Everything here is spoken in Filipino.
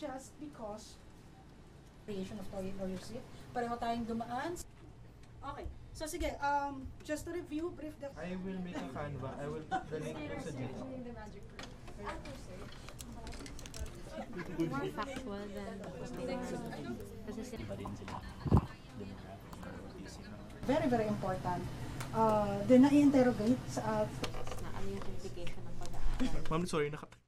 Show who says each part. Speaker 1: just because creation of Toy Leadership. Pareho tayong dumaan. Okay. So sige, um, just to review, brief the...
Speaker 2: I will make a Canva. I will put the link to Gmail.
Speaker 3: factual than kasi sila
Speaker 1: Very, very important. Uh, then na-interrogate sa
Speaker 3: na ano yung implication ng pag-aaral.
Speaker 4: Ma'am, sorry, naka-